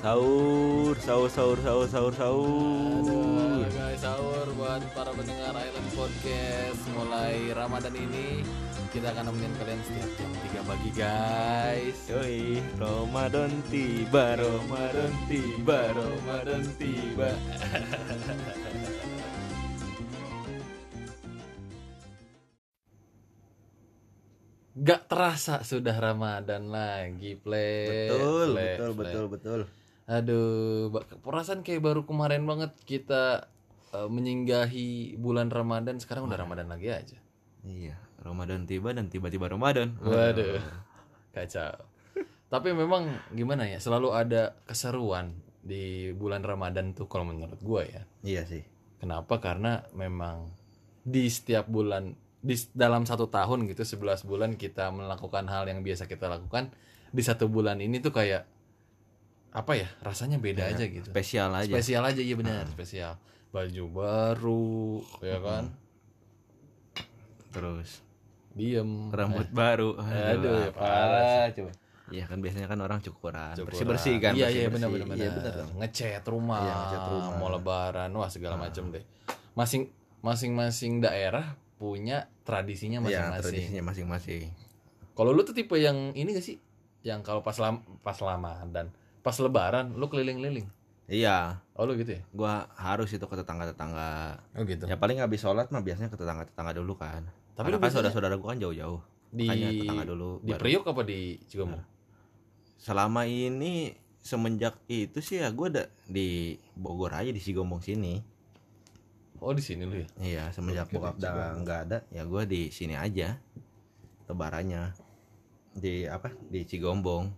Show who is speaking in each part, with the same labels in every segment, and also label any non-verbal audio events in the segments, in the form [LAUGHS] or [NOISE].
Speaker 1: Sahur, sahur, sahur, sahur, sahur, sahur.
Speaker 2: Aduh, guys, sahur buat para pendengar Island Podcast. Mulai Ramadan ini kita akan nemenin kalian setiap jam 3 pagi, guys.
Speaker 1: Yoi, Ramadan tiba, Ramadan tiba, Ramadan tiba.
Speaker 2: Gak terasa sudah Ramadan lagi, play.
Speaker 1: Betul,
Speaker 2: play,
Speaker 1: betul,
Speaker 2: play.
Speaker 1: betul, betul.
Speaker 2: Aduh, ba- perasaan kayak baru kemarin banget kita eh, menyinggahi bulan Ramadan. Sekarang udah Ramadan lagi aja.
Speaker 1: Iya, Ramadan tiba dan tiba-tiba Ramadan.
Speaker 2: Waduh, kacau. Tapi memang gimana ya, selalu ada keseruan di bulan Ramadan tuh kalau menurut gua ya.
Speaker 1: Iya sih.
Speaker 2: Kenapa? Karena memang di setiap bulan, di s- dalam satu tahun gitu, 11 bulan kita melakukan hal yang biasa kita lakukan. Di satu bulan ini tuh kayak, apa ya, rasanya beda aja gitu.
Speaker 1: Spesial Iya, aja. Ah.
Speaker 2: Spesial aja, iya benar, spesial. Baju baru, ya kan?
Speaker 1: Hmm. Terus
Speaker 2: Diem.
Speaker 1: rambut baru.
Speaker 2: Eh. Aduh, ya
Speaker 1: apa
Speaker 2: parah coba.
Speaker 1: Iya kan biasanya kan orang cukuran,
Speaker 2: Cukuran.
Speaker 1: bersih-bersih kan.
Speaker 2: Iya
Speaker 1: bersih-bersih.
Speaker 2: iya benar benar.
Speaker 1: Iya,
Speaker 2: Iya
Speaker 1: benar.
Speaker 2: Ngecat rumah,
Speaker 1: Iya, ngecat rumah. Ah.
Speaker 2: mau lebaran, wah segala macem deh. Masing masing-masing daerah punya tradisinya
Speaker 1: Iya,
Speaker 2: masing-masing.
Speaker 1: tradisinya masing-masing.
Speaker 2: kalau lu tuh tipe yang ini gak sih? Yang kalau pas lam pas lama dan pas lebaran lu keliling-liling.
Speaker 1: Iya,
Speaker 2: Oh lu gitu ya?
Speaker 1: gua harus itu ke tetangga-tetangga.
Speaker 2: Oh gitu.
Speaker 1: Ya paling habis sholat mah biasanya ke tetangga-tetangga dulu kan. Tapi
Speaker 2: Tapi lu
Speaker 1: kan
Speaker 2: biasanya
Speaker 1: saudara-saudara gua kan jauh-jauh.
Speaker 2: di
Speaker 1: Makanya tetangga dulu.
Speaker 2: di
Speaker 1: baru.
Speaker 2: Priok apa di Cigombong?
Speaker 1: Selama ini semenjak itu sih ya gua ada di Bogor aja di Sigombong sini.
Speaker 2: Oh di sini lu ya.
Speaker 1: Iya, semenjak
Speaker 2: Oke,
Speaker 1: bokap
Speaker 2: di
Speaker 1: udah
Speaker 2: Cigombong.
Speaker 1: nggak ada, ya gua di sini aja. Lebarannya di apa? Di Cigombong.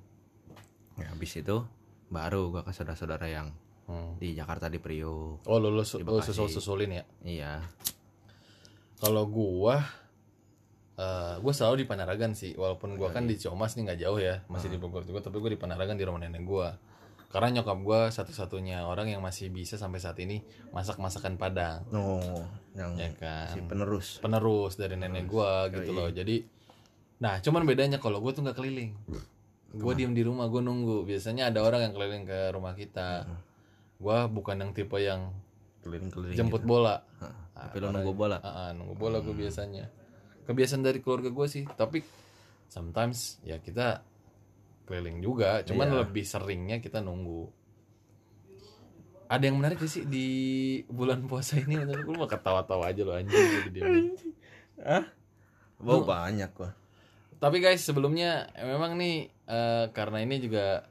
Speaker 1: Ya habis itu baru gua ke saudara-saudara yang
Speaker 2: Hmm.
Speaker 1: di Jakarta di Priok.
Speaker 2: Oh lu, lu,
Speaker 1: Di
Speaker 2: su- lu
Speaker 1: Bekasi.
Speaker 2: susul-susulin ya.
Speaker 1: Iya.
Speaker 2: Kalau gua eh gua selalu di Panaragan sih, walaupun gua
Speaker 1: Iya.
Speaker 2: kan di Ciomas nih nggak jauh ya, masih di Bogor juga, tapi gua di Panaragan di rumah nenek gua. Karena nyokap gua satu-satunya orang yang masih bisa sampai saat ini masak masakan Padang,
Speaker 1: No, yang
Speaker 2: ya
Speaker 1: si
Speaker 2: kan.
Speaker 1: penerus.
Speaker 2: Penerus dari nenek gua gitu
Speaker 1: Hmm, Yoi.
Speaker 2: loh. Jadi nah, cuman bedanya kalau gua tuh nggak keliling. Gua
Speaker 1: Nah.
Speaker 2: diem di rumah, gua nunggu. Biasanya ada orang yang keliling ke rumah kita. Gua bukan yang tipe yang
Speaker 1: Keliling-keliling.
Speaker 2: jemput bola.
Speaker 1: gitu. Heeh.
Speaker 2: Ah,
Speaker 1: Tapi lu
Speaker 2: orang-
Speaker 1: nunggu bola.
Speaker 2: Ah, ah, nunggu bola gue biasanya. Kebiasaan dari keluarga gue sih, tapi sometimes ya kita keliling juga, cuman
Speaker 1: Iya.
Speaker 2: lebih seringnya kita nunggu. Ada yang menarik gak sih di bulan puasa ini? Menurut gue mah ketawa-tawa aja lo anjing. jadi diem.
Speaker 1: Wow, banyak gua.
Speaker 2: Tapi guys sebelumnya memang nih eh, karena ini juga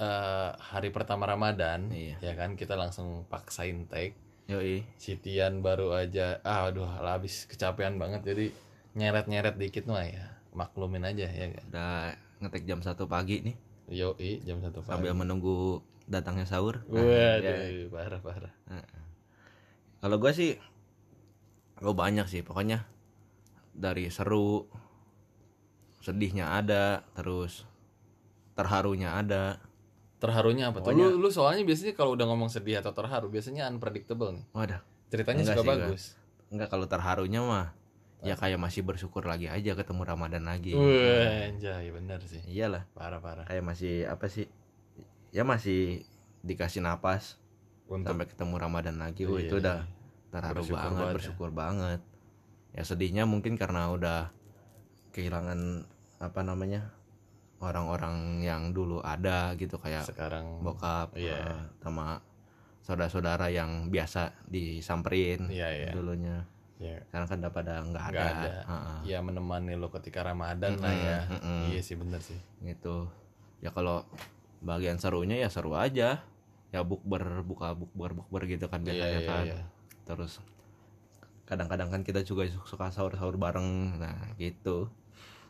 Speaker 2: eh, hari pertama Ramadan,
Speaker 1: Iya.
Speaker 2: ya kan kita langsung paksain take.
Speaker 1: Yoi.
Speaker 2: Sitian baru aja ah, aduh habis kecapean banget jadi nyeret-nyeret dikit mah ya maklumin aja ya kan?
Speaker 1: Udah ngetek jam 1 pagi nih
Speaker 2: yoi jam satu pagi
Speaker 1: sambil menunggu datangnya sahur. Nah, ya.
Speaker 2: waduh parah parah
Speaker 1: Kalau gua sih gua banyak sih pokoknya dari seru sedihnya ada, terus terharunya ada.
Speaker 2: terharunya apa tuh
Speaker 1: Pokoknya-
Speaker 2: lu lu soalnya biasanya kalau udah ngomong sedih atau terharu biasanya unpredictable nih
Speaker 1: Wadah,
Speaker 2: ceritanya
Speaker 1: Enggak
Speaker 2: suka
Speaker 1: sih,
Speaker 2: bagus
Speaker 1: enggak kalau terharunya mah ya kayak masih bersyukur lagi aja ketemu Ramadan lagi.
Speaker 2: Wah, anjay bener sih
Speaker 1: Iyalah,
Speaker 2: parah parah
Speaker 1: kayak masih apa sih? Ya masih dikasih napas
Speaker 2: untuk
Speaker 1: sampai ketemu Ramadan lagi. Wah,
Speaker 2: Iya,
Speaker 1: itu udah terharu
Speaker 2: Bersyukur
Speaker 1: banget,
Speaker 2: banget ya.
Speaker 1: bersyukur banget. Ya sedihnya mungkin karena udah kehilangan apa namanya? orang-orang yang dulu ada gitu kayak
Speaker 2: sekarang
Speaker 1: bokap
Speaker 2: Iya.
Speaker 1: eh, sama saudara-saudara yang biasa disamperin
Speaker 2: Iya, iya.
Speaker 1: dulunya.
Speaker 2: ya
Speaker 1: Sekarang kan udah pada nggak ada.
Speaker 2: nggak ada
Speaker 1: Heeh,
Speaker 2: ya menemani lo ketika ramadan lah
Speaker 1: Mm-mm,
Speaker 2: ya
Speaker 1: mm-mm.
Speaker 2: iya sih bener sih
Speaker 1: gitu. Ya kalau bagian serunya ya seru aja. Ya bukber buka bukber bukber gitu kan
Speaker 2: iya
Speaker 1: biasanya
Speaker 2: iya
Speaker 1: kan.
Speaker 2: iya
Speaker 1: terus kadang-kadang kan kita juga suka sahur-sahur bareng nah gitu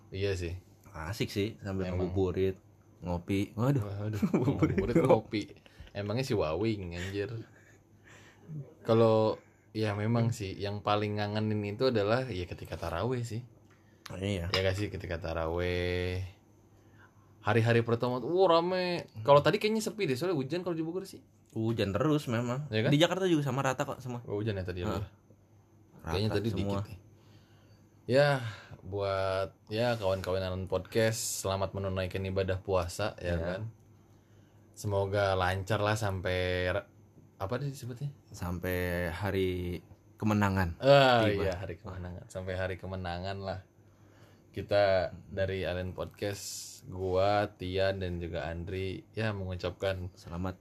Speaker 2: iya sih
Speaker 1: asik sih sambil
Speaker 2: Emang.
Speaker 1: ngabuburit ngopi waduh
Speaker 2: [LAUGHS] Waduh, murid kopi. Emangnya si Wawing anjir. Kalau ya memang sih yang paling ngangenin itu adalah ya ketika taraweh sih.
Speaker 1: iya
Speaker 2: Ya gak sih ketika taraweh. Hari-hari pertama tuh wah, rame. Kalau tadi kayaknya sepi deh soalnya hujan kalau di Bogor sih.
Speaker 1: hujan terus memang
Speaker 2: Iya kan?
Speaker 1: di Jakarta juga sama rata kok semua
Speaker 2: Oh, hujan ya tadi ya.
Speaker 1: Hah.
Speaker 2: Lu? Kayaknya
Speaker 1: Rata
Speaker 2: tadi
Speaker 1: semua
Speaker 2: dikit deh. Ya, buat ya kawan-kawan Alan Podcast, selamat menunaikan ibadah puasa
Speaker 1: Ya.
Speaker 2: ya kan. Semoga lancar lah sampai ra- apa tadi disebutnya?
Speaker 1: sampai hari kemenangan.
Speaker 2: Ah
Speaker 1: Tiba.
Speaker 2: iya hari kemenangan. Sampai hari kemenangan lah. Kita dari Allen Podcast, gua, Tian dan juga Andri ya mengucapkan
Speaker 1: Selamat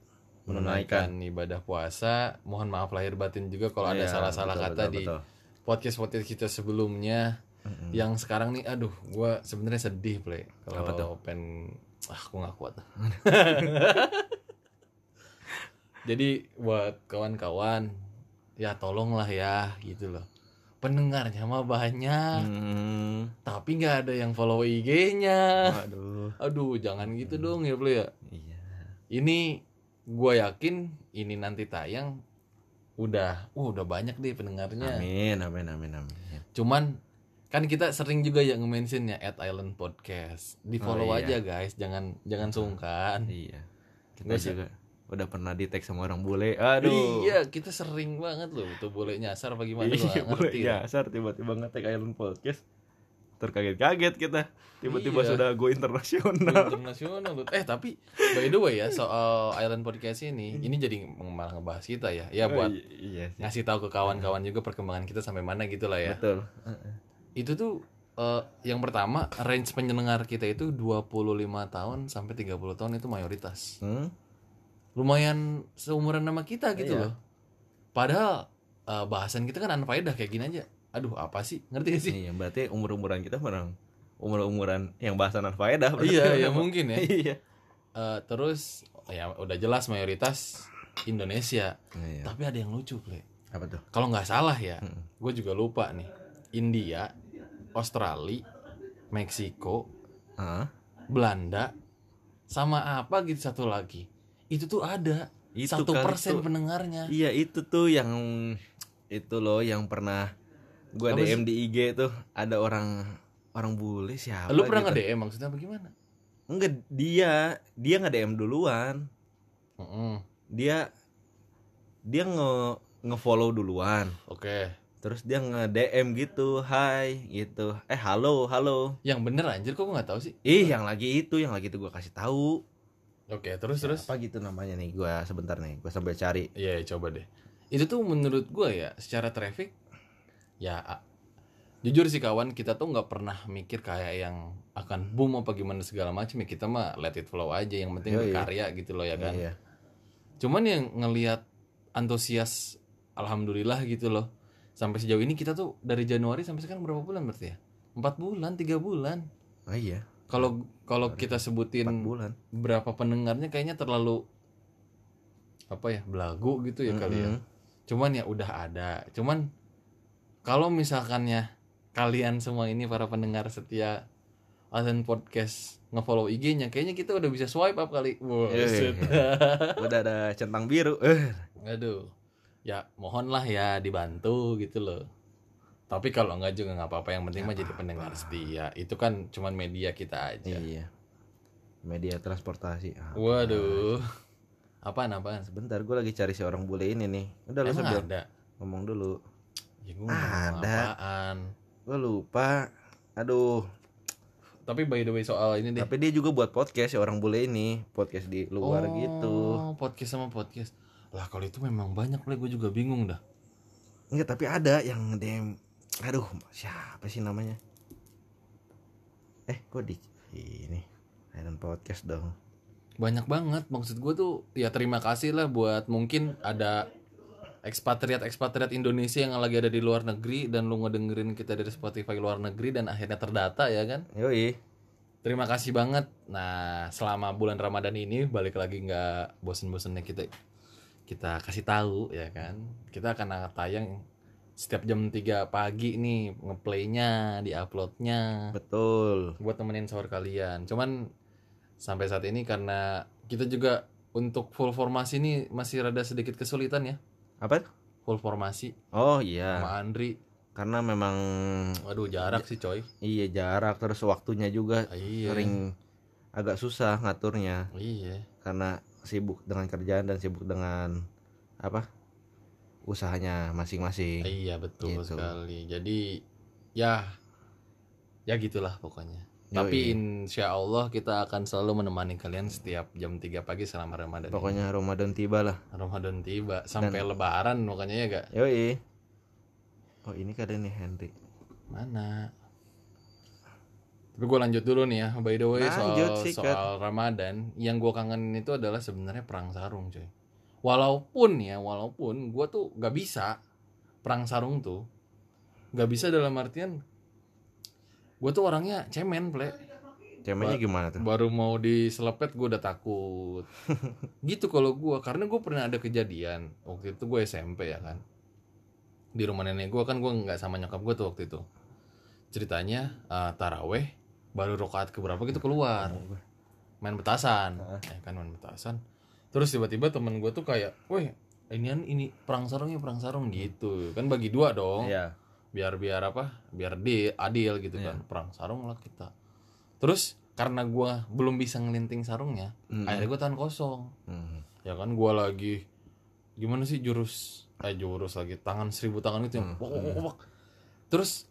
Speaker 1: menunaikan.
Speaker 2: menunaikan ibadah puasa. Mohon maaf lahir batin juga kalau ada
Speaker 1: Iya,
Speaker 2: salah-salah
Speaker 1: betul,
Speaker 2: kata
Speaker 1: betul,
Speaker 2: di
Speaker 1: betul. Ya.
Speaker 2: podcast-podcast kita sebelumnya
Speaker 1: Mm-mm.
Speaker 2: yang sekarang nih aduh gua sebenarnya sedih play
Speaker 1: Hmm. Apa tuh?
Speaker 2: kalau pengen ah gua nggak
Speaker 1: [LAUGHS]
Speaker 2: kuat jadi buat kawan-kawan ya tolonglah ya gitu loh pendengarnya mah banyak
Speaker 1: Hmm,
Speaker 2: tapi nggak ada yang follow IG-nya
Speaker 1: Waduh.
Speaker 2: aduh jangan gitu
Speaker 1: Hmm.
Speaker 2: dong ya play ya
Speaker 1: Iya.
Speaker 2: ini gua yakin ini nanti tayang udah uh, udah banyak deh pendengarnya
Speaker 1: Amin, amin, amin, amin.
Speaker 2: Cuman kan kita sering juga ya nge-mention ya at Island Podcast. Di follow
Speaker 1: Oh, iya.
Speaker 2: aja guys, jangan jangan sungkan.
Speaker 1: Iya. Kita
Speaker 2: Nggak usah.
Speaker 1: juga udah pernah di tag sama orang bule. Aduh.
Speaker 2: Iya, kita sering banget loh tuh boleh nyasar apa gimana gua
Speaker 1: Iya,
Speaker 2: nggak
Speaker 1: boleh
Speaker 2: ngerti. ya?
Speaker 1: nyasar tiba-tiba ngetek Island Podcast. Terkaget-kaget kita. Tiba-tiba
Speaker 2: Iya.
Speaker 1: sudah go internasional.
Speaker 2: internasional loh. Eh tapi by the way ya soal Island Podcast ini, ini jadi malah ngebahas kita ya. Ya buat
Speaker 1: Oh, iya sih.
Speaker 2: ngasih tahu ke kawan-kawan juga perkembangan kita sampai mana gitu lah ya.
Speaker 1: Betul.
Speaker 2: Itu tuh eh, yang pertama range pendengar kita itu 25 tahun sampai 30 tahun itu mayoritas.
Speaker 1: Hmm?
Speaker 2: lumayan seumuran sama kita gitu
Speaker 1: Iya.
Speaker 2: loh. Padahal eh, bahasan kita kan anfaedah kayak gini aja. Aduh, apa sih? Ngerti gak sih?
Speaker 1: Iya, berarti umur-umuran kita bareng umur-umuran yang bahasan faedah berarti.
Speaker 2: iya, ya mungkin ya.
Speaker 1: [LAUGHS] Iya.
Speaker 2: Eh, terus ya udah jelas mayoritas Indonesia.
Speaker 1: Iya. Hmm.
Speaker 2: Tapi ada yang lucu, Ple.
Speaker 1: Apa tuh?
Speaker 2: Kalau nggak salah ya,
Speaker 1: Mm-mm.
Speaker 2: gue juga lupa nih. India, Australia, Meksiko,
Speaker 1: Hah?
Speaker 2: Belanda, sama apa gitu satu lagi. Itu tuh ada
Speaker 1: Itu
Speaker 2: satu
Speaker 1: kali
Speaker 2: persen
Speaker 1: tuh.
Speaker 2: pendengarnya.
Speaker 1: Iya itu tuh yang itu loh yang pernah gua
Speaker 2: Apa sih?
Speaker 1: DM di IG tuh ada orang orang bule siapa?
Speaker 2: Lu
Speaker 1: gitu.
Speaker 2: pernah nge DM maksudnya apa gimana?
Speaker 1: Enggak dia dia nggak DM duluan
Speaker 2: Mm-mm.
Speaker 1: dia dia nge ngefollow duluan
Speaker 2: Oke.
Speaker 1: terus dia nge DM gitu hai gitu eh halo halo
Speaker 2: Yang bener anjir kok gue gak tahu sih.
Speaker 1: ih yang lagi itu yang lagi itu gua kasih tahu
Speaker 2: Oke, terus terus.
Speaker 1: apa gitu namanya nih gua sebentar nih gua sambil cari
Speaker 2: Iya, ya, coba deh. Itu tuh menurut gua ya, secara traffic ya a- jujur sih kawan, kita tuh nggak pernah mikir kayak yang akan boom apa gimana segala macam ya. Kita mah let it flow aja, yang penting
Speaker 1: Yoi.
Speaker 2: berkarya gitu loh ya kan.
Speaker 1: Iya.
Speaker 2: Cuman yang ngelihat antusias alhamdulillah gitu loh. Sampai sejauh ini kita tuh dari Januari sampai sekarang berapa bulan berarti ya? 4 bulan, 3 bulan.
Speaker 1: Oh iya,
Speaker 2: Kalau kalau kita sebutin
Speaker 1: 4 bulan.
Speaker 2: berapa pendengarnya kayaknya terlalu apa ya belagu gitu ya kali ya
Speaker 1: Mm-mm.
Speaker 2: cuman ya udah ada cuman kalau misalkannya kalian semua ini para pendengar setia Alten Podcast ngefollow IG-nya kayaknya kita udah bisa swipe up kali wow,
Speaker 1: Iya, iya, Udah ada centang biru. Eh,
Speaker 2: [LAUGHS] aduh ya mohonlah ya dibantu gitu loh tapi kalau enggak juga nggak apa-apa yang penting mah jadi pendengar setia itu kan cuman media kita aja
Speaker 1: Iya. Media transportasi. Ah, nah,
Speaker 2: waduh apaan apaan
Speaker 1: Sebentar, gue lagi cari si orang bule ini nih. Udah lu
Speaker 2: Emang
Speaker 1: sambil
Speaker 2: ada
Speaker 1: ngomong dulu.
Speaker 2: Ya gue ngomong
Speaker 1: Ada.
Speaker 2: apaan.
Speaker 1: Gue lupa. Aduh,
Speaker 2: Tapi by the way soal ini deh.
Speaker 1: tapi dia juga buat podcast si orang bule ini, podcast di luar
Speaker 2: Oh,
Speaker 1: gitu.
Speaker 2: Podcast sama podcast. Lah kalau itu memang banyak play gue juga bingung dah.
Speaker 1: Enggak, tapi ada yang DM. Aduh, siapa sih namanya? Eh, kok di ini? Island podcast dong.
Speaker 2: Banyak banget maksud gue tuh ya terima kasih lah buat mungkin ada ekspatriat ekspatriat Indonesia yang lagi ada di luar negeri dan lu ngedengerin kita dari Spotify luar negeri dan akhirnya terdata ya kan.
Speaker 1: Yoi.
Speaker 2: Terima kasih banget. Nah, selama bulan Ramadan ini balik lagi nggak bosen-bosennya kita kita kasih tahu ya kan. Kita akan tayang setiap jam 3 pagi nih ngeplaynya, diuploadnya
Speaker 1: Betul.
Speaker 2: buat temenin sahur kalian. Cuman sampai saat ini karena kita juga untuk full formasi ini masih rada sedikit kesulitan ya.
Speaker 1: Apa?
Speaker 2: Full formasi
Speaker 1: Oh iya,
Speaker 2: sama Andri.
Speaker 1: karena memang
Speaker 2: Waduh, jarak sih coy.
Speaker 1: iya jarak terus waktunya juga
Speaker 2: Iya.
Speaker 1: sering agak susah ngaturnya
Speaker 2: Iya.
Speaker 1: karena sibuk dengan kerjaan dan sibuk dengan apa usahanya masing-masing.
Speaker 2: Iya betul
Speaker 1: Gitu.
Speaker 2: sekali. Jadi ya ya gitulah pokoknya. Tapi insya Allah kita akan selalu menemani kalian setiap jam 3 pagi selama Ramadan.
Speaker 1: Pokoknya Ramadan tiba lah.
Speaker 2: Ramadan tiba sampai lebaran makanya ya gak?
Speaker 1: Yoi. Oh ini kadang nih Henry.
Speaker 2: Mana? Tapi gue lanjut dulu nih ya. By the way
Speaker 1: Lanjut,
Speaker 2: soal
Speaker 1: sikat.
Speaker 2: soal Ramadan, yang gue kangenin itu adalah sebenarnya perang sarung, cuy. Walaupun ya, walaupun gue tuh gak bisa perang sarung tuh. Gak bisa dalam artian gue tuh orangnya cemen, ple.
Speaker 1: Cemennya gimana tuh?
Speaker 2: baru mau diselepet gue udah takut gitu kalau gue karena gue pernah ada kejadian waktu itu gue SMP ya kan di rumah nenek gue kan gue nggak sama nyokap gue tuh waktu itu ceritanya eh, taraweh baru rokaat keberapa gitu keluar main petasan ya kan main petasan terus tiba-tiba temen gue tuh kayak weh inian ini perang sarung ya perang sarung gitu kan bagi dua dong
Speaker 1: Iya.
Speaker 2: biar biar apa biar di adil gitu kan perang sarung lah kita terus karena gua belum bisa ngelinting sarungnya
Speaker 1: Mm.
Speaker 2: akhirnya gua tahan kosong
Speaker 1: Hmm.
Speaker 2: ya kan gua lagi gimana sih jurus eh jurus lagi tangan seribu tangan itu yang wak, wak, wak, wak. terus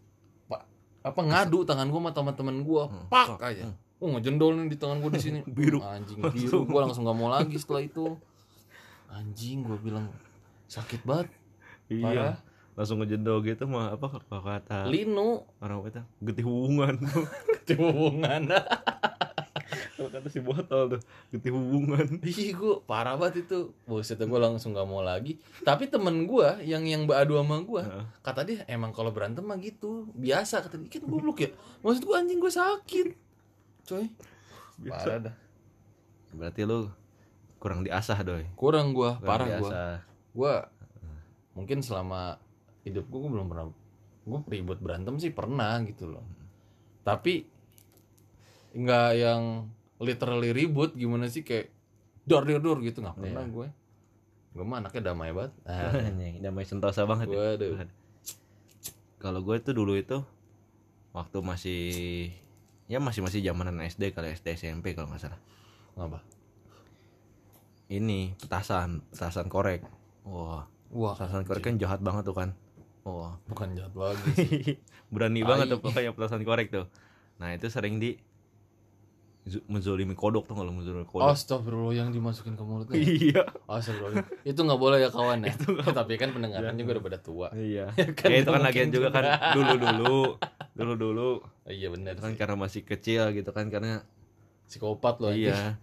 Speaker 2: pa- apa ngadu tangan gua sama teman-teman gua pak aja oh ngejendol nih di tangan gua di
Speaker 1: [LAUGHS]
Speaker 2: sini biru anjing biru gua langsung nggak mau lagi setelah itu anjing gua bilang sakit banget
Speaker 1: Iya.
Speaker 2: Parah.
Speaker 1: Langsung ngejendol gitu mah apa kalau kata
Speaker 2: linu
Speaker 1: orang itu getih
Speaker 2: [LAUGHS]
Speaker 1: hubungan tuh.
Speaker 2: hubungan
Speaker 1: Kalau kata si botol tuh getih hubungan.
Speaker 2: Ih gue parah banget itu Buset gue langsung gak mau lagi Tapi temen gue yang yang beradu sama gue
Speaker 1: Heeh.
Speaker 2: Kata dia emang kalau berantem mah gitu Biasa kata dia kan goblok ya Maksud gue anjing gue sakit Coy Parah dah
Speaker 1: Berarti lu kurang diasah doi.
Speaker 2: Kurang gue
Speaker 1: Kurang
Speaker 2: parah gue
Speaker 1: diasah.
Speaker 2: Gue mungkin selama hidup gue gue belum pernah Gue ribut berantem sih pernah gitu loh Tapi nggak yang literally ribut gimana sih kayak Dor dor dor gitu nggak pernah gue Gue mah anaknya damai banget
Speaker 1: [LAUGHS]
Speaker 2: Ah.
Speaker 1: Anjing, damai sentosa banget. ya.
Speaker 2: Waduh.
Speaker 1: Kalau gue tuh dulu itu waktu masih ya masih masih zamanan SD kalau SD SMP kalau nggak salah.
Speaker 2: Ngapa?
Speaker 1: Ini petasan, petasan korek. Wah,
Speaker 2: Wah,
Speaker 1: petasan korek kan jahat banget tuh kan. Wah, [LAUGHS]
Speaker 2: bukan jahat [LAUGHS] lagi.
Speaker 1: berani
Speaker 2: Tai.
Speaker 1: banget tuh pokoknya petasan korek tuh. Nah, itu sering di zu- menzolimi kodok tuh kalau menzolimi
Speaker 2: Oh,
Speaker 1: kodok.
Speaker 2: Astagfirullah yang dimasukin ke
Speaker 1: [LAUGHS]
Speaker 2: mulutnya.
Speaker 1: iya.
Speaker 2: [LAUGHS] Astagfirullah. Itu nggak boleh ya kawan
Speaker 1: [LAUGHS]
Speaker 2: ya. Tapi kan pendengaran juga udah pada tua. [LAUGHS]
Speaker 1: Iya.
Speaker 2: kan
Speaker 1: ya itu kan
Speaker 2: nggak
Speaker 1: lagian
Speaker 2: mungkin
Speaker 1: juga kan dulu-dulu, dulu-dulu
Speaker 2: Iya benar.
Speaker 1: kan karena masih kecil gitu kan karena
Speaker 2: Psikopat loh. anjing.
Speaker 1: Iya.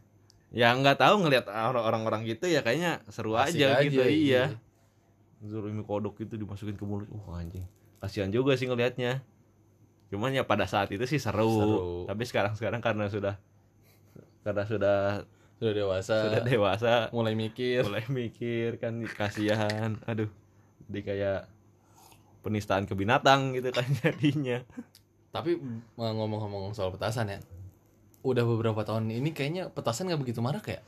Speaker 1: Ya nggak tahu ngelihat orang- orang-orang gitu ya kayaknya seru
Speaker 2: Asik
Speaker 1: aja, gitu.
Speaker 2: iya.
Speaker 1: Iya. Suruh mie kodok itu dimasukin ke mulut. Wah, anjing. Kasihan juga sih ngelihatnya. Cuman ya pada saat itu sih seru.
Speaker 2: Seru.
Speaker 1: Tapi sekarang-sekarang karena sudah karena sudah
Speaker 2: Sudah dewasa.
Speaker 1: sudah dewasa
Speaker 2: mulai mikir.
Speaker 1: mulai mikir kan kasihan. Aduh. Jadi kayak penistaan ke binatang gitu kan [LAUGHS] jadinya.
Speaker 2: Tapi eh, ngomong-ngomong soal petasan ya. Udah beberapa tahun ini kayaknya petasan nggak begitu marah kayak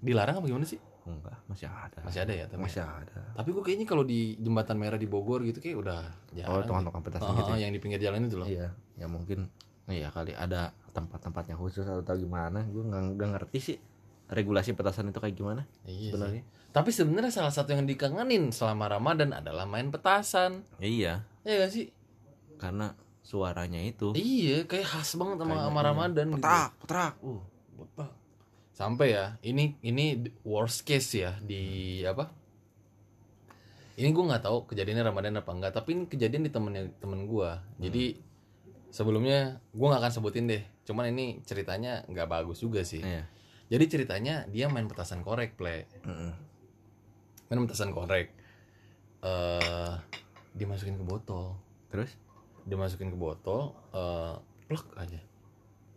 Speaker 2: dilarang apa gimana sih?
Speaker 1: Enggak, masih ada.
Speaker 2: Masih ada ya tapi.
Speaker 1: Masih ada.
Speaker 2: Tapi gue kayaknya kalau di jembatan merah di Bogor gitu kayak udah
Speaker 1: Oh,
Speaker 2: jarang.
Speaker 1: tukang-tukang petasan
Speaker 2: Ah,
Speaker 1: gitu. ya.
Speaker 2: ah, yang di pinggir jalan itu loh.
Speaker 1: Iya, ya mungkin ya kali ada tempat-tempatnya khusus atau tahu gimana. Gue nggak nggak ngerti sih regulasi petasan itu kayak gimana
Speaker 2: Iya. sih.
Speaker 1: sebenarnya.
Speaker 2: Tapi sebenarnya salah satu yang dikangenin selama Ramadan adalah main petasan.
Speaker 1: Iya,
Speaker 2: Iya gak sih?
Speaker 1: karena suaranya itu
Speaker 2: Iya, kayak khas banget sama,
Speaker 1: Kayaknya
Speaker 2: sama
Speaker 1: iya.
Speaker 2: Ramadan
Speaker 1: petrak, petrak. Uh,
Speaker 2: gitu. Betul. Sampai ya, ini ini worst case ya di apa? Ini gue nggak tahu kejadiannya Ramadan apa enggak, tapi ini kejadian di temennya temen gue. Jadi
Speaker 1: Hmm.
Speaker 2: sebelumnya gue nggak akan sebutin deh. Cuman ini ceritanya nggak bagus juga sih.
Speaker 1: iya.
Speaker 2: Jadi ceritanya dia main petasan korek, play.
Speaker 1: Mm-mm.
Speaker 2: Main petasan korek. Eh dimasukin ke botol.
Speaker 1: Terus?
Speaker 2: dimasukin ke botol eh plek aja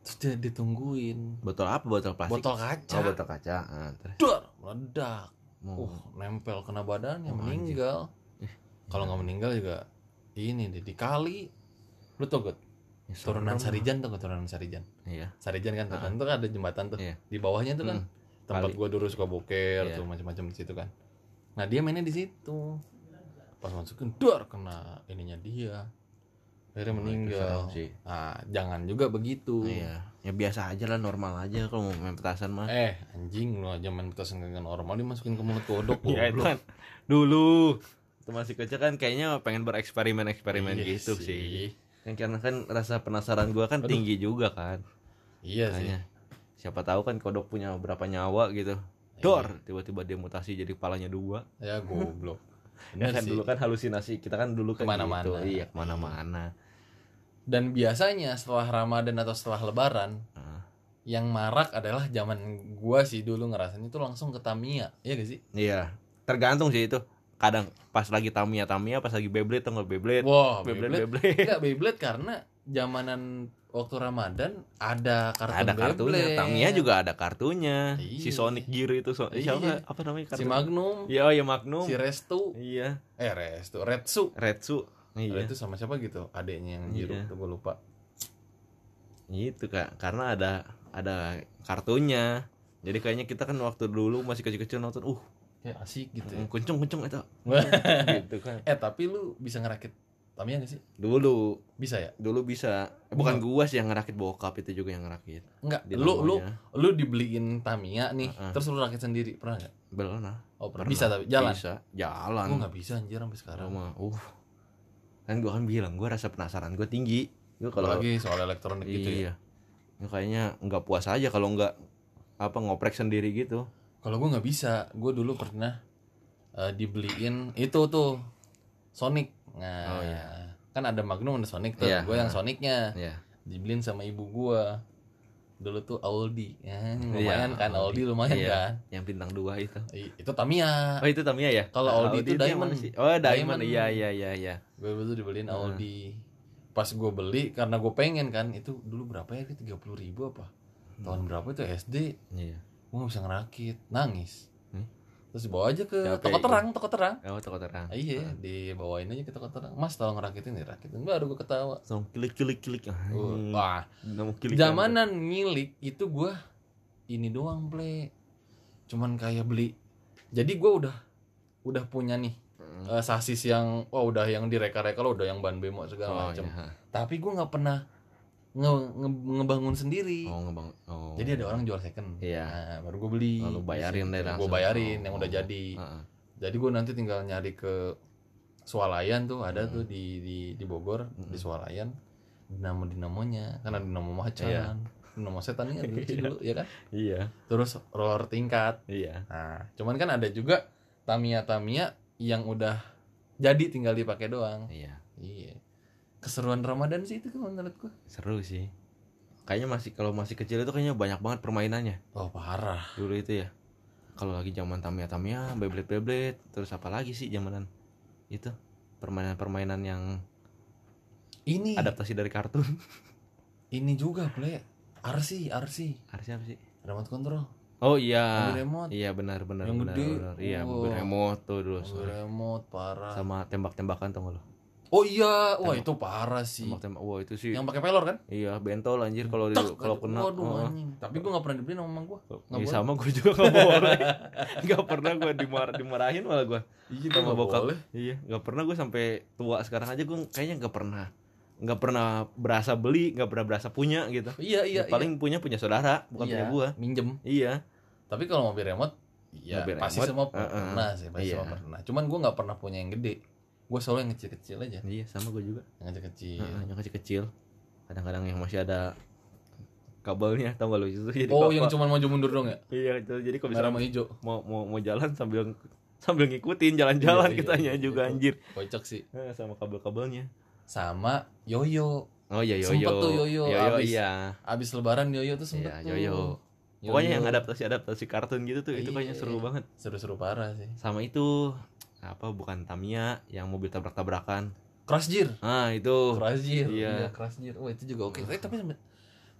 Speaker 2: terus dia ditungguin
Speaker 1: Botol apa? Botol plastik.
Speaker 2: botol kaca
Speaker 1: Oh, botol kaca. Ah, terus.
Speaker 2: Dor, meledak
Speaker 1: Mau-
Speaker 2: uh nempel kena badannya
Speaker 1: Oh, anjing.
Speaker 2: meninggal kalau nggak meninggal juga ini deh dikali lu tau gak
Speaker 1: ya, serem.
Speaker 2: turunan Sarijan tuh turunan Sarijan
Speaker 1: Iya.
Speaker 2: Sarijan kan turunan tuh kan ada jembatan tuh
Speaker 1: Iya.
Speaker 2: di bawahnya tuh kan
Speaker 1: Hmm.
Speaker 2: tempat
Speaker 1: Kali.
Speaker 2: gua dulu suka boker
Speaker 1: Iya.
Speaker 2: tuh macam-macam di situ kan nah dia mainnya di situ pas masukin dor kena ininya dia akhirnya
Speaker 1: Oh,
Speaker 2: meninggal
Speaker 1: serem sih.
Speaker 2: nah jangan juga begitu
Speaker 1: Iya. Ya biasa aja lah, normal aja kalau mau main petasan mah.
Speaker 2: eh anjing lu aja main petasan dengan normal dimasukin ke mulut kodok
Speaker 1: [LAUGHS] Iya itu
Speaker 2: goblok.
Speaker 1: kan dulu itu masih kecil kan kayaknya pengen bereksperimen eksperimen
Speaker 2: Iya
Speaker 1: gitu sih. yang karena kan rasa penasaran gua kan tinggi juga kan
Speaker 2: Iya sih.
Speaker 1: makanya siapa tahu kan kodok punya berapa nyawa gitu dor
Speaker 2: Iya.
Speaker 1: tiba-tiba dia mutasi jadi kepalanya dua
Speaker 2: Ya
Speaker 1: [LAUGHS]
Speaker 2: goblok.
Speaker 1: ya
Speaker 2: Bener
Speaker 1: kan
Speaker 2: sih.
Speaker 1: dulu kan halusinasi kita kan dulu kan
Speaker 2: Kemana-mana.
Speaker 1: gitu. iya kemana-mana
Speaker 2: Dan biasanya setelah Ramadan atau setelah Lebaran,
Speaker 1: Ah.
Speaker 2: yang marak adalah zaman gua sih dulu ngerasain itu langsung ke Tamiya, iya gak sih?
Speaker 1: iya tergantung sih itu kadang pas lagi tamia tamia pas lagi beyblade atau nggak beyblade beyblade
Speaker 2: Wah, Beyblade.
Speaker 1: beyblade
Speaker 2: Enggak Beyblade karena zamanan waktu Ramadan ada kartun
Speaker 1: ada kartunya
Speaker 2: Beyblade.
Speaker 1: tamia juga ada kartunya si
Speaker 2: Iya.
Speaker 1: Sonic Gear itu so-
Speaker 2: Iya.
Speaker 1: siapa apa namanya kartunya?
Speaker 2: si Magnum,
Speaker 1: iya oh ya Magnum
Speaker 2: si Restu,
Speaker 1: iya
Speaker 2: eh Restu, Retsu.
Speaker 1: Retsu iya
Speaker 2: Retsu sama siapa gitu? Adeknya yang biru
Speaker 1: Iya.
Speaker 2: tuh gua lupa.
Speaker 1: Gitu kak, karena ada ada kartunya. Jadi kayaknya kita kan waktu dulu masih kecil-kecil nonton, uh,
Speaker 2: Ya asik gitu. ya.
Speaker 1: kuncung kuncung
Speaker 2: [LAUGHS]
Speaker 1: itu, gitu kan.
Speaker 2: eh tapi lu bisa ngerakit Tamiya gak sih?
Speaker 1: Dulu
Speaker 2: Bisa ya?
Speaker 1: dulu bisa, Eh, bukan gua sih yang ngerakit bokap itu juga yang ngerakit.
Speaker 2: Enggak.
Speaker 1: Di
Speaker 2: Iya. Lu lu
Speaker 1: rumahnya.
Speaker 2: lu dibeliin Tamiya nih,
Speaker 1: Heeh.
Speaker 2: terus lu rakit sendiri pernah gak?
Speaker 1: Belum nah.
Speaker 2: Oh
Speaker 1: Pernah. Iya.
Speaker 2: pernah. Bisa tapi jalan.
Speaker 1: Bisa,
Speaker 2: Gua
Speaker 1: jalan.
Speaker 2: nggak bisa anjir sampai sekarang.
Speaker 1: Sama, uh. Kan gua kan bilang gua rasa penasaran gua tinggi. Gua kalau
Speaker 2: Apalagi soal elektronik gitu ya.
Speaker 1: iya. Gua kayaknya nggak puas aja kalau nggak apa ngoprek sendiri gitu.
Speaker 2: Kalau gua nggak bisa, gua dulu pernah eh, dibeliin itu tuh Sonic.
Speaker 1: Oh,
Speaker 2: Nah,
Speaker 1: iya.
Speaker 2: kan ada Magnum ada Sonic tuh.
Speaker 1: Iya,
Speaker 2: Gua yang Sonicnya
Speaker 1: Iya.
Speaker 2: dibeliin sama ibu gua. Dulu tuh Aldi.
Speaker 1: Iya,
Speaker 2: Ya, lumayan kan
Speaker 1: Aldi.
Speaker 2: Aldi lumayan
Speaker 1: Iya.
Speaker 2: kan.
Speaker 1: Yang bintang dua itu.
Speaker 2: I- itu Tamiya.
Speaker 1: Oh itu Tamiya ya?
Speaker 2: Kalau
Speaker 1: Ah,
Speaker 2: Audi itu
Speaker 1: yang
Speaker 2: Diamond.
Speaker 1: mana sih? Oh Diamond,
Speaker 2: Diamond.
Speaker 1: iya iya iya iya.
Speaker 2: Gue dulu dibeliin
Speaker 1: Ah.
Speaker 2: Aldi. Pas gue beli karena gue pengen kan itu dulu berapa ya? Tiga puluh ribu apa? Tahun berapa itu SD?
Speaker 1: Iya.
Speaker 2: Gue gak bisa ngerakit, nangis.
Speaker 1: Hmm?
Speaker 2: Terus dibawa aja ke
Speaker 1: Capek
Speaker 2: toko
Speaker 1: itu.
Speaker 2: terang, toko terang.
Speaker 1: Oh toko terang.
Speaker 2: Ah, iya, dibawain aja ke toko terang. Mas tolong ngerakitin nih, rakitin. Baru gue ketawa.
Speaker 1: Langsung kilik kilik kilik.
Speaker 2: Uh,
Speaker 1: Hmm,
Speaker 2: Wah,
Speaker 1: nggak mau kilik.
Speaker 2: zamanan ngilik itu gue ini doang play. Cuman kayak beli. Jadi gue udah udah punya nih
Speaker 1: Hmm.
Speaker 2: eh, sasis yang wah udah yang direka-reka lo udah yang ban bemo segala
Speaker 1: Oh,
Speaker 2: macam.
Speaker 1: iya.
Speaker 2: tapi gue nggak pernah nge- nge- ngebangun sendiri
Speaker 1: Oh ngebang. Oh.
Speaker 2: jadi ada orang jual second
Speaker 1: Iya.
Speaker 2: Nah, baru gue beli
Speaker 1: Lalu bayarin deh langsung.
Speaker 2: gue bayarin yang
Speaker 1: Oh.
Speaker 2: udah jadi
Speaker 1: Heeh.
Speaker 2: jadi gue nanti tinggal nyari ke swalayan tuh ada
Speaker 1: Hmm.
Speaker 2: tuh di di di Bogor di swalayan dinamo dinamonya karena dinamo macan
Speaker 1: Iya.
Speaker 2: dinamo setan
Speaker 1: [LAUGHS]
Speaker 2: ini ada lucu dulu ya kan
Speaker 1: Iya.
Speaker 2: terus roller tingkat
Speaker 1: Iya.
Speaker 2: nah cuman kan ada juga tamia tamia yang udah jadi tinggal dipakai doang
Speaker 1: Iya.
Speaker 2: iya keseruan ramadan sih itu kalau menurut gue
Speaker 1: Seru sih. Kayaknya masih kalau masih kecil itu kayaknya banyak banget permainannya
Speaker 2: oh parah
Speaker 1: dulu itu ya. Kalau lagi zaman Tamiya Tamiya, Beyblade Beyblade, terus apa lagi sih zamanan itu permainan-permainan yang
Speaker 2: Ini
Speaker 1: adaptasi dari kartun. [LAUGHS]
Speaker 2: ini juga play RC RC
Speaker 1: Harusnya apa sih?
Speaker 2: remote control
Speaker 1: Oh iya.
Speaker 2: mobil remote
Speaker 1: Iya benar benar
Speaker 2: Yang
Speaker 1: benar,
Speaker 2: gede.
Speaker 1: benar. Iya,
Speaker 2: Wah.
Speaker 1: mobil remote tuh dulu
Speaker 2: mobil
Speaker 1: sorry.
Speaker 2: remote parah
Speaker 1: sama tembak-tembakan tau gak lo?
Speaker 2: oh iya wah itu parah sih
Speaker 1: Tembak-tembak. Wah, itu sih.
Speaker 2: yang pakai pelor kan
Speaker 1: Iya, bentol anjir kalau dulu
Speaker 2: Tak,
Speaker 1: kalau kena.
Speaker 2: waduh
Speaker 1: oh.
Speaker 2: anjing tapi gua nggak pernah dibeliin sama emang gua nggak
Speaker 1: Iya
Speaker 2: boleh.
Speaker 1: sama gue juga gak boleh [LAUGHS] Gak pernah gue dimar dimarahin malah gue
Speaker 2: iya
Speaker 1: Sama
Speaker 2: nggak
Speaker 1: bokap.
Speaker 2: boleh
Speaker 1: Iya gak pernah gue sampai tua sekarang aja gue kayaknya gak pernah Gak pernah berasa beli Gak pernah berasa punya gitu
Speaker 2: iya iya iya.
Speaker 1: Paling punya punya saudara bukan punya
Speaker 2: Iya,
Speaker 1: gue
Speaker 2: minjem
Speaker 1: Iya
Speaker 2: tapi kalau mobil remote ya
Speaker 1: Mobil
Speaker 2: pasti
Speaker 1: remote,
Speaker 2: semua
Speaker 1: uh-uh.
Speaker 2: pernah sih pasti
Speaker 1: Iya.
Speaker 2: semua pernah cuman gua nggak pernah punya yang gede gua selalu yang kecil-kecil aja
Speaker 1: Iya sama gue juga
Speaker 2: yang kecil-kecil
Speaker 1: Heeh, Yang kecil-kecil Kadang-kadang yang masih ada kabelnya tau gak lo itu jadi
Speaker 2: oh
Speaker 1: apa-
Speaker 2: yang cuman maju mundur dong ya
Speaker 1: Iya, itu. jadi kalau
Speaker 2: merah
Speaker 1: misalnya
Speaker 2: sama hijau
Speaker 1: mau mau mau jalan sambil sambil ngikutin jalan-jalan
Speaker 2: Iya, iya,
Speaker 1: kitanya
Speaker 2: iya,
Speaker 1: juga
Speaker 2: itu.
Speaker 1: anjir.
Speaker 2: kocak sih
Speaker 1: Eh, sama kabel-kabelnya.
Speaker 2: sama yoyo
Speaker 1: Oh iya yoyo.
Speaker 2: Sempet tuh yoyo, abis.
Speaker 1: iya.
Speaker 2: abis lebaran yoyo tuh sempet
Speaker 1: Iya,
Speaker 2: tuh.
Speaker 1: yoyo. Pokoknya yang adaptasi-adaptasi kartun gitu tuh itu
Speaker 2: Iya.
Speaker 1: kayaknya seru banget.
Speaker 2: seru-seru parah sih
Speaker 1: Sama itu apa bukan Tamiya yang mobil tabrak-tabrakan.
Speaker 2: crash gear
Speaker 1: Ah, itu.
Speaker 2: crash gear
Speaker 1: Iya.
Speaker 2: crash gear oh itu juga oke Eh, tapi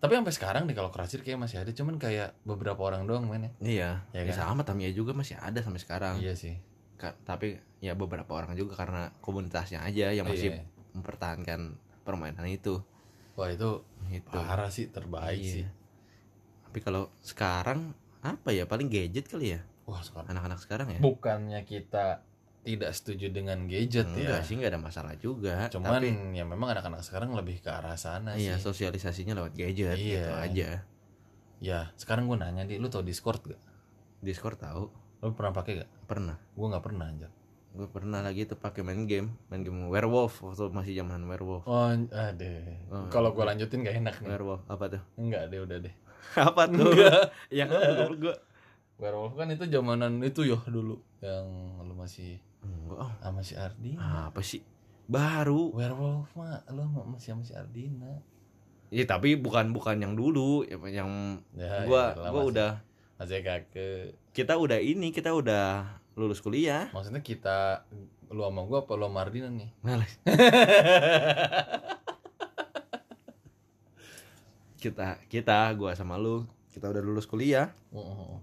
Speaker 2: tapi sampai sekarang deh kalau crash gear kayak masih ada cuman kayak beberapa orang doang mainnya
Speaker 1: Iya,
Speaker 2: Iya
Speaker 1: ya,
Speaker 2: kan?
Speaker 1: sama Tamiya juga masih ada sampai sekarang.
Speaker 2: iya sih
Speaker 1: Ka- tapi ya beberapa orang juga karena komunitasnya aja yang masih
Speaker 2: Iya.
Speaker 1: mempertahankan permainan itu.
Speaker 2: wah itu
Speaker 1: Itu.
Speaker 2: parah sih terbaik
Speaker 1: Iya.
Speaker 2: sih
Speaker 1: Tapi kalau sekarang apa ya paling gadget kali ya
Speaker 2: wah sekarang
Speaker 1: anak-anak sekarang ya?
Speaker 2: bukannya kita tidak setuju dengan gadget
Speaker 1: Enggak
Speaker 2: ya
Speaker 1: sih nggak ada masalah juga.
Speaker 2: cuman
Speaker 1: Tapi
Speaker 2: ya memang anak-anak sekarang lebih ke arah sana
Speaker 1: iya
Speaker 2: sih
Speaker 1: sosialisasinya lewat gadget
Speaker 2: Iya.
Speaker 1: gitu aja.
Speaker 2: ya sekarang gue nanya di lu tau discord gak
Speaker 1: Discord tahu
Speaker 2: lu pernah pakai gak
Speaker 1: pernah
Speaker 2: gue nggak pernah aja
Speaker 1: gue pernah lagi tuh pakai main game main game werewolf waktu masih zaman werewolf
Speaker 2: Oh, ade.
Speaker 1: oh.
Speaker 2: Kalau gua lanjutin gak enak nih.
Speaker 1: werewolf apa tuh
Speaker 2: Enggak deh, udah deh.
Speaker 1: apa tuh yang gue
Speaker 2: Werewolf kan itu zamanan itu ya dulu yang lu masih
Speaker 1: enggak
Speaker 2: sama si Ardina.
Speaker 1: apa sih baru
Speaker 2: Werewolf mah lu ma- masih sama si Ardina.
Speaker 1: ya tapi bukan bukan yang dulu yang- yang
Speaker 2: Ya,
Speaker 1: gua
Speaker 2: iyalah,
Speaker 1: gua
Speaker 2: masih-
Speaker 1: udah
Speaker 2: masih kakek.
Speaker 1: kita udah ini kita udah lulus kuliah
Speaker 2: Maksudnya kita lu sama gua apa lu sama Ardina nih?
Speaker 1: kita kita gua sama lu kita udah lulus kuliah
Speaker 2: Oh, oh, oh.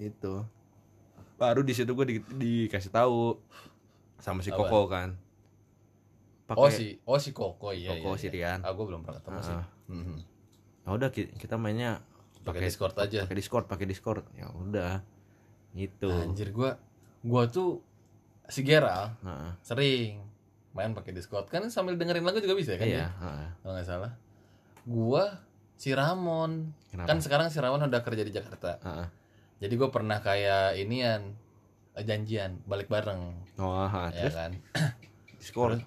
Speaker 1: itu baru di situ gue di, dikasih tahu sama si
Speaker 2: Apa?
Speaker 1: Koko kan
Speaker 2: Oh, si oh si Koko iya.
Speaker 1: Koko
Speaker 2: iya, iya.
Speaker 1: Sirian
Speaker 2: Ah, gua belum pernah ketemu sih.
Speaker 1: Ah.
Speaker 2: Mhm.
Speaker 1: Nah, udah ki- kita mainnya
Speaker 2: Pakai Discord aja.
Speaker 1: pakai Discord pakai Discord ya udah gitu
Speaker 2: Anjir gua gua tuh si Geral
Speaker 1: Heeh.
Speaker 2: sering main pakai Discord kan sambil dengerin lagu juga bisa kan?
Speaker 1: iya
Speaker 2: ya?
Speaker 1: heeh.
Speaker 2: Kalau nggak salah. Gua si Ramon.
Speaker 1: kenapa
Speaker 2: Kan sekarang si Ramon udah kerja di Jakarta.
Speaker 1: Heeh.
Speaker 2: Jadi gua pernah kayak inian eh, janjian balik bareng
Speaker 1: oh heeh.
Speaker 2: ya
Speaker 1: terus
Speaker 2: kan.
Speaker 1: Discord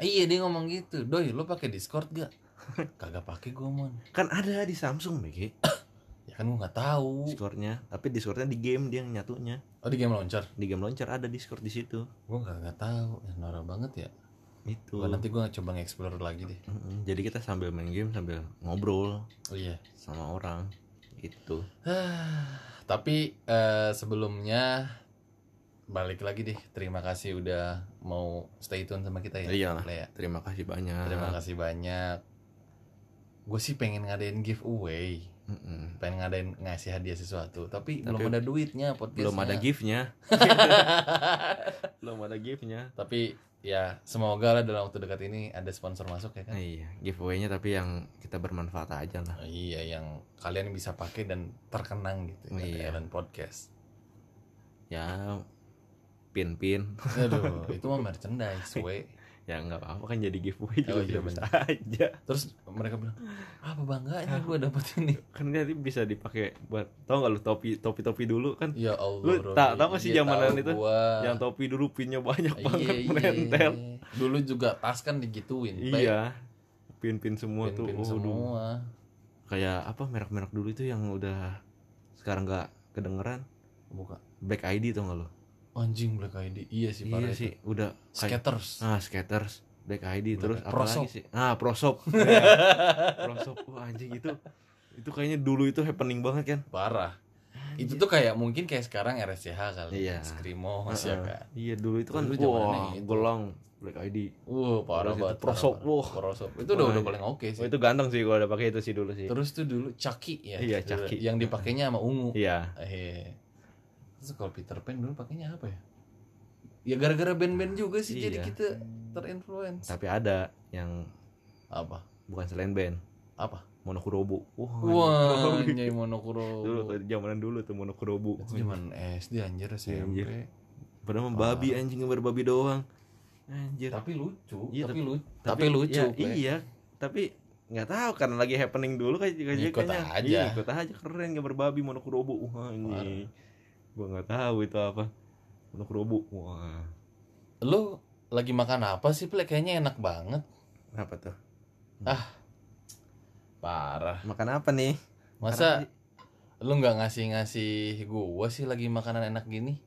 Speaker 2: Iya dia ngomong gitu. Doi lu pakai Discord gak? [LAUGHS] Kagak pakai gua mon.
Speaker 1: kan ada di Samsung Begi
Speaker 2: Ya kan gua nggak tahu.
Speaker 1: Discordnya tapi Discordnya di game dia yang nyatunya
Speaker 2: Oh di game launcher.
Speaker 1: di game launcher ada Discord di situ
Speaker 2: Gua nggak nggak tahu. Ya, norak banget ya.
Speaker 1: itu
Speaker 2: Gua nanti gua coba nge-explore lagi deh.
Speaker 1: Mm-mm. jadi kita sambil main game sambil ngobrol
Speaker 2: Oh iya. [SIGHS]
Speaker 1: sama orang Gitu. itu
Speaker 2: Tapi eh, sebelumnya balik lagi deh. Terima kasih udah mau stay tune sama kita ya.
Speaker 1: Iyalah.
Speaker 2: Lea.
Speaker 1: terima kasih banyak
Speaker 2: Terima kasih banyak. Gue sih pengen ngadain giveaway,
Speaker 1: Mm-mm.
Speaker 2: pengen ngadain ngasih hadiah sesuatu,
Speaker 1: Tapi
Speaker 2: tapi, belum ada duitnya podcastnya.
Speaker 1: belum
Speaker 2: [LAUGHS]
Speaker 1: ada giftnya belum ada giftnya
Speaker 2: tapi ya semoga lah dalam waktu dekat ini ada sponsor masuk ya kan.
Speaker 1: iya giveaway-nya tapi yang kita bermanfaat aja lah
Speaker 2: Iya yang kalian bisa pakai dan terkenang gitu
Speaker 1: Iya.
Speaker 2: ya Ellen podcast.
Speaker 1: ya pin pin
Speaker 2: Aduh, itu mah merchandise, we.
Speaker 1: [LAUGHS] ya nggak apa-apa kan jadi giveaway juga
Speaker 2: Oh, iya,
Speaker 1: bisa
Speaker 2: bener.
Speaker 1: aja
Speaker 2: Terus mereka bilang, "Apa bangganya gue dapet ini?"
Speaker 1: kan nanti bisa dipakai buat tau nggak lu topi topi topi dulu kan
Speaker 2: Ya Allah.
Speaker 1: Lu
Speaker 2: Rodi.
Speaker 1: tak- tahu nggak sih
Speaker 2: Iya,
Speaker 1: zamanan
Speaker 2: tahu
Speaker 1: itu?
Speaker 2: gua.
Speaker 1: yang topi dulu pinnya banyak
Speaker 2: Iya,
Speaker 1: banget
Speaker 2: iya.
Speaker 1: mentel
Speaker 2: Dulu juga tas kan digituin. Pe.
Speaker 1: iya pin pin semua tuh waduh.
Speaker 2: Pin-pin semua.
Speaker 1: kayak apa merek-merek dulu itu yang udah sekarang nggak kedengeran
Speaker 2: Buka.
Speaker 1: Black ID tau nggak lo
Speaker 2: Anjing Black ID. Iya sih
Speaker 1: iya
Speaker 2: parah
Speaker 1: sih
Speaker 2: itu.
Speaker 1: udah kayak
Speaker 2: Skaters.
Speaker 1: ah skaters Black ID
Speaker 2: Black
Speaker 1: terus
Speaker 2: ID.
Speaker 1: apa
Speaker 2: Prosop.
Speaker 1: lagi sih ah [LAUGHS] prosop Ya, prosop wah anjing itu itu kayaknya dulu itu happening banget kan
Speaker 2: Parah. Itu tuh kayak mungkin kayak sekarang RSCH kali.
Speaker 1: Iya.
Speaker 2: Skrimos ya
Speaker 1: Heeh.
Speaker 2: kan.
Speaker 1: iya dulu itu kan
Speaker 2: Dulu zamannya
Speaker 1: wah
Speaker 2: gitu.
Speaker 1: gelang Black ID
Speaker 2: Wah, parah
Speaker 1: Terus itu
Speaker 2: banget.
Speaker 1: prosop,
Speaker 2: parah, parah.
Speaker 1: wah.
Speaker 2: Prosop. Itu udah
Speaker 1: Wah,
Speaker 2: udah
Speaker 1: iya.
Speaker 2: paling oke
Speaker 1: oh,
Speaker 2: sih.
Speaker 1: itu ganteng sih kalau udah pakai itu sih dulu sih
Speaker 2: Terus tuh dulu Caki ya.
Speaker 1: Iya,
Speaker 2: dulu.
Speaker 1: Chucky.
Speaker 2: Yang dipakainya sama ungu.
Speaker 1: iya
Speaker 2: Eh, Terus kalau Peter Pan dulu pakainya apa ya? Ya gara-gara band-band juga sih jadi
Speaker 1: Iya.
Speaker 2: kita terinfluence.
Speaker 1: tapi ada yang
Speaker 2: Apa?
Speaker 1: bukan selain band
Speaker 2: Apa?
Speaker 1: monokurobu wah
Speaker 2: Wah,
Speaker 1: anjing.
Speaker 2: Nyai Monokuro.
Speaker 1: dulu tuh, zamanan dulu tuh monokurobu
Speaker 2: Itu zaman SD anjir SMP.
Speaker 1: Anjir. Padahal mah babi anjing berbabi doang. Anjir.
Speaker 2: Tapi lucu,
Speaker 1: Iya,
Speaker 2: tapi, lucu. Tapi, lucu.
Speaker 1: ya,
Speaker 2: Pe.
Speaker 1: iya, tapi nggak tahu karena lagi happening dulu kayak kayak-
Speaker 2: Ngikut
Speaker 1: kayaknya.
Speaker 2: aja.
Speaker 1: Iya, ikut aja keren gak berbabi monokurobo. Wah,
Speaker 2: Parah.
Speaker 1: ini. Gua nggak tahu itu apa. Monokurobo. Wah.
Speaker 2: Lu lagi makan apa sih, Plek? Kayaknya enak banget.
Speaker 1: Apa tuh?
Speaker 2: Parah.
Speaker 1: Makan apa nih?
Speaker 2: Masa lu nggak ngasih-ngasih gua sih lagi makanan enak gini?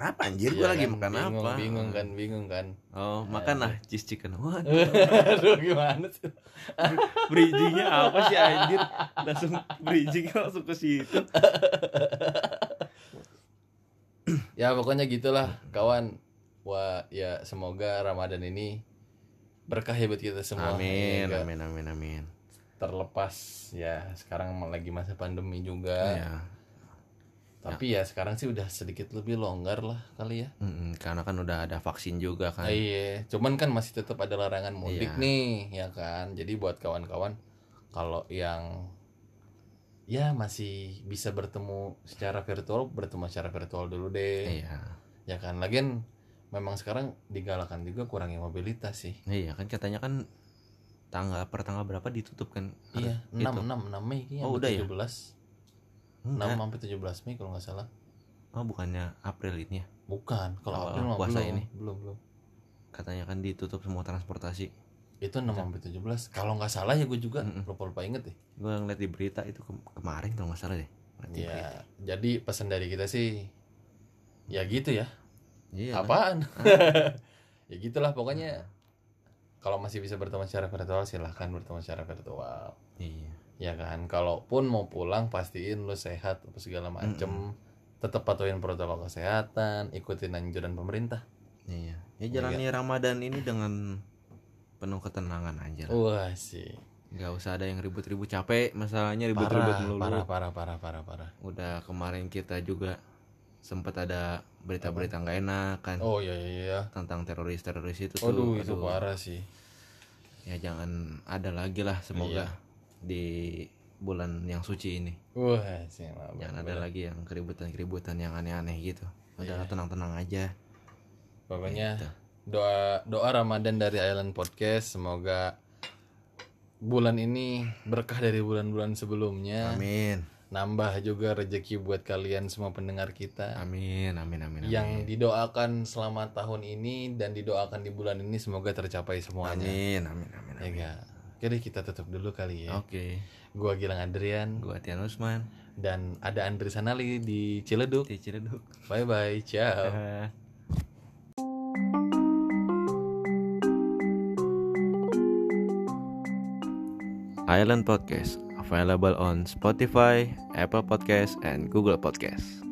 Speaker 1: Apa anjir
Speaker 2: Iya
Speaker 1: Ya, gua lagi
Speaker 2: kan?
Speaker 1: makan
Speaker 2: bingung,
Speaker 1: apa?
Speaker 2: Bingung kan, bingung
Speaker 1: [LAUGHS]
Speaker 2: kan.
Speaker 1: Oh, makan lah cheese chicken. Wah,
Speaker 2: Aduh, gimana sih?
Speaker 1: bridgingnya apa sih anjir? Langsung bridgingnya langsung ke situ.
Speaker 2: ya pokoknya gitulah kawan wah ya semoga ramadan ini berkah ya buat kita semua
Speaker 1: Amin,
Speaker 2: Ya, nggak
Speaker 1: amin, amin, amin.
Speaker 2: terlepas ya sekarang lagi masa pandemi juga
Speaker 1: Iya.
Speaker 2: tapi ya sekarang sih udah sedikit lebih longgar lah kali ya
Speaker 1: Mm, karena kan udah ada vaksin juga kan.
Speaker 2: Ah, iya cuman kan masih tetap ada larangan
Speaker 1: Iya.
Speaker 2: mudik nih ya kan jadi buat kawan-kawan kalau yang ya masih bisa bertemu secara virtual bertemu secara virtual dulu deh
Speaker 1: Iya.
Speaker 2: ya kan lagian memang sekarang digalakan juga kurangi mobilitas sih
Speaker 1: Iya kan katanya kan tanggal per tanggal berapa ditutup kan?
Speaker 2: Iya,
Speaker 1: Itu.
Speaker 2: 6, 6, 6 Mei kayaknya
Speaker 1: Oh,
Speaker 2: sampai
Speaker 1: udah ya?
Speaker 2: 17. 6
Speaker 1: Enggak.
Speaker 2: sampai 17 Mei kalau nggak salah.
Speaker 1: oh bukannya April ini ya
Speaker 2: Bukan,
Speaker 1: Oh,
Speaker 2: kalau April mah
Speaker 1: puasa
Speaker 2: belum,
Speaker 1: ini.
Speaker 2: belum belum.
Speaker 1: katanya kan ditutup semua transportasi
Speaker 2: Itu 6 sampai 17. Kalau nggak salah ya gue juga
Speaker 1: Mm-mm.
Speaker 2: lupa-lupa inget deh.
Speaker 1: gue ngeliat di berita itu ke- kemarin kalau nggak salah deh Ngeliat di berita.
Speaker 2: Ya, jadi pesan dari kita sih ya gitu ya.
Speaker 1: iya kan?
Speaker 2: Apaan? [LAUGHS] ya gitulah pokoknya kalau masih bisa berteman secara virtual silahkan berteman secara virtual.
Speaker 1: iya
Speaker 2: Ya kan, kalaupun mau pulang pastiin lu sehat apa segala macem Tetap patuhin protokol kesehatan, ikutin anjuran pemerintah.
Speaker 1: iya ya jalani Ramadan ini dengan penuh ketenangan aja lah
Speaker 2: Wah sih.
Speaker 1: nggak usah ada yang ribut-ribut capek masalahnya ribut-ribut
Speaker 2: Parah,
Speaker 1: melulu
Speaker 2: parah, parah, parah, parah, parah.
Speaker 1: udah kemarin kita juga sempat ada berita-berita nggak enak kan
Speaker 2: Oh iya iya iya.
Speaker 1: tentang teroris-teroris itu tuh
Speaker 2: Aduh, itu
Speaker 1: Aduh.
Speaker 2: parah sih.
Speaker 1: ya jangan ada lagi lah semoga
Speaker 2: Iya.
Speaker 1: di bulan yang suci ini
Speaker 2: Wah, sih. maaf.
Speaker 1: jangan ada lagi yang keributan-keributan yang aneh-aneh gitu udah
Speaker 2: Iya.
Speaker 1: tenang-tenang aja gitu.
Speaker 2: Pokoknya doa doa Ramadan dari Island Podcast semoga bulan ini berkah dari bulan-bulan sebelumnya.
Speaker 1: amin
Speaker 2: Nambah juga rezeki buat kalian semua pendengar kita.
Speaker 1: amin amin amin amin
Speaker 2: Yang didoakan selama tahun ini dan didoakan di bulan ini semoga tercapai semuanya.
Speaker 1: amin amin amin,
Speaker 2: Ya
Speaker 1: amin.
Speaker 2: enggak? Oke deh, kita tutup dulu kali ya.
Speaker 1: oke
Speaker 2: Gua Gilang Adrian
Speaker 1: gua Tian Usman
Speaker 2: dan ada Andri Sanali di Ciledug.
Speaker 1: di Ciledug
Speaker 2: Bye bye, ciao.
Speaker 1: Island Podcast available on Spotify, Apple Podcast, and Google Podcast.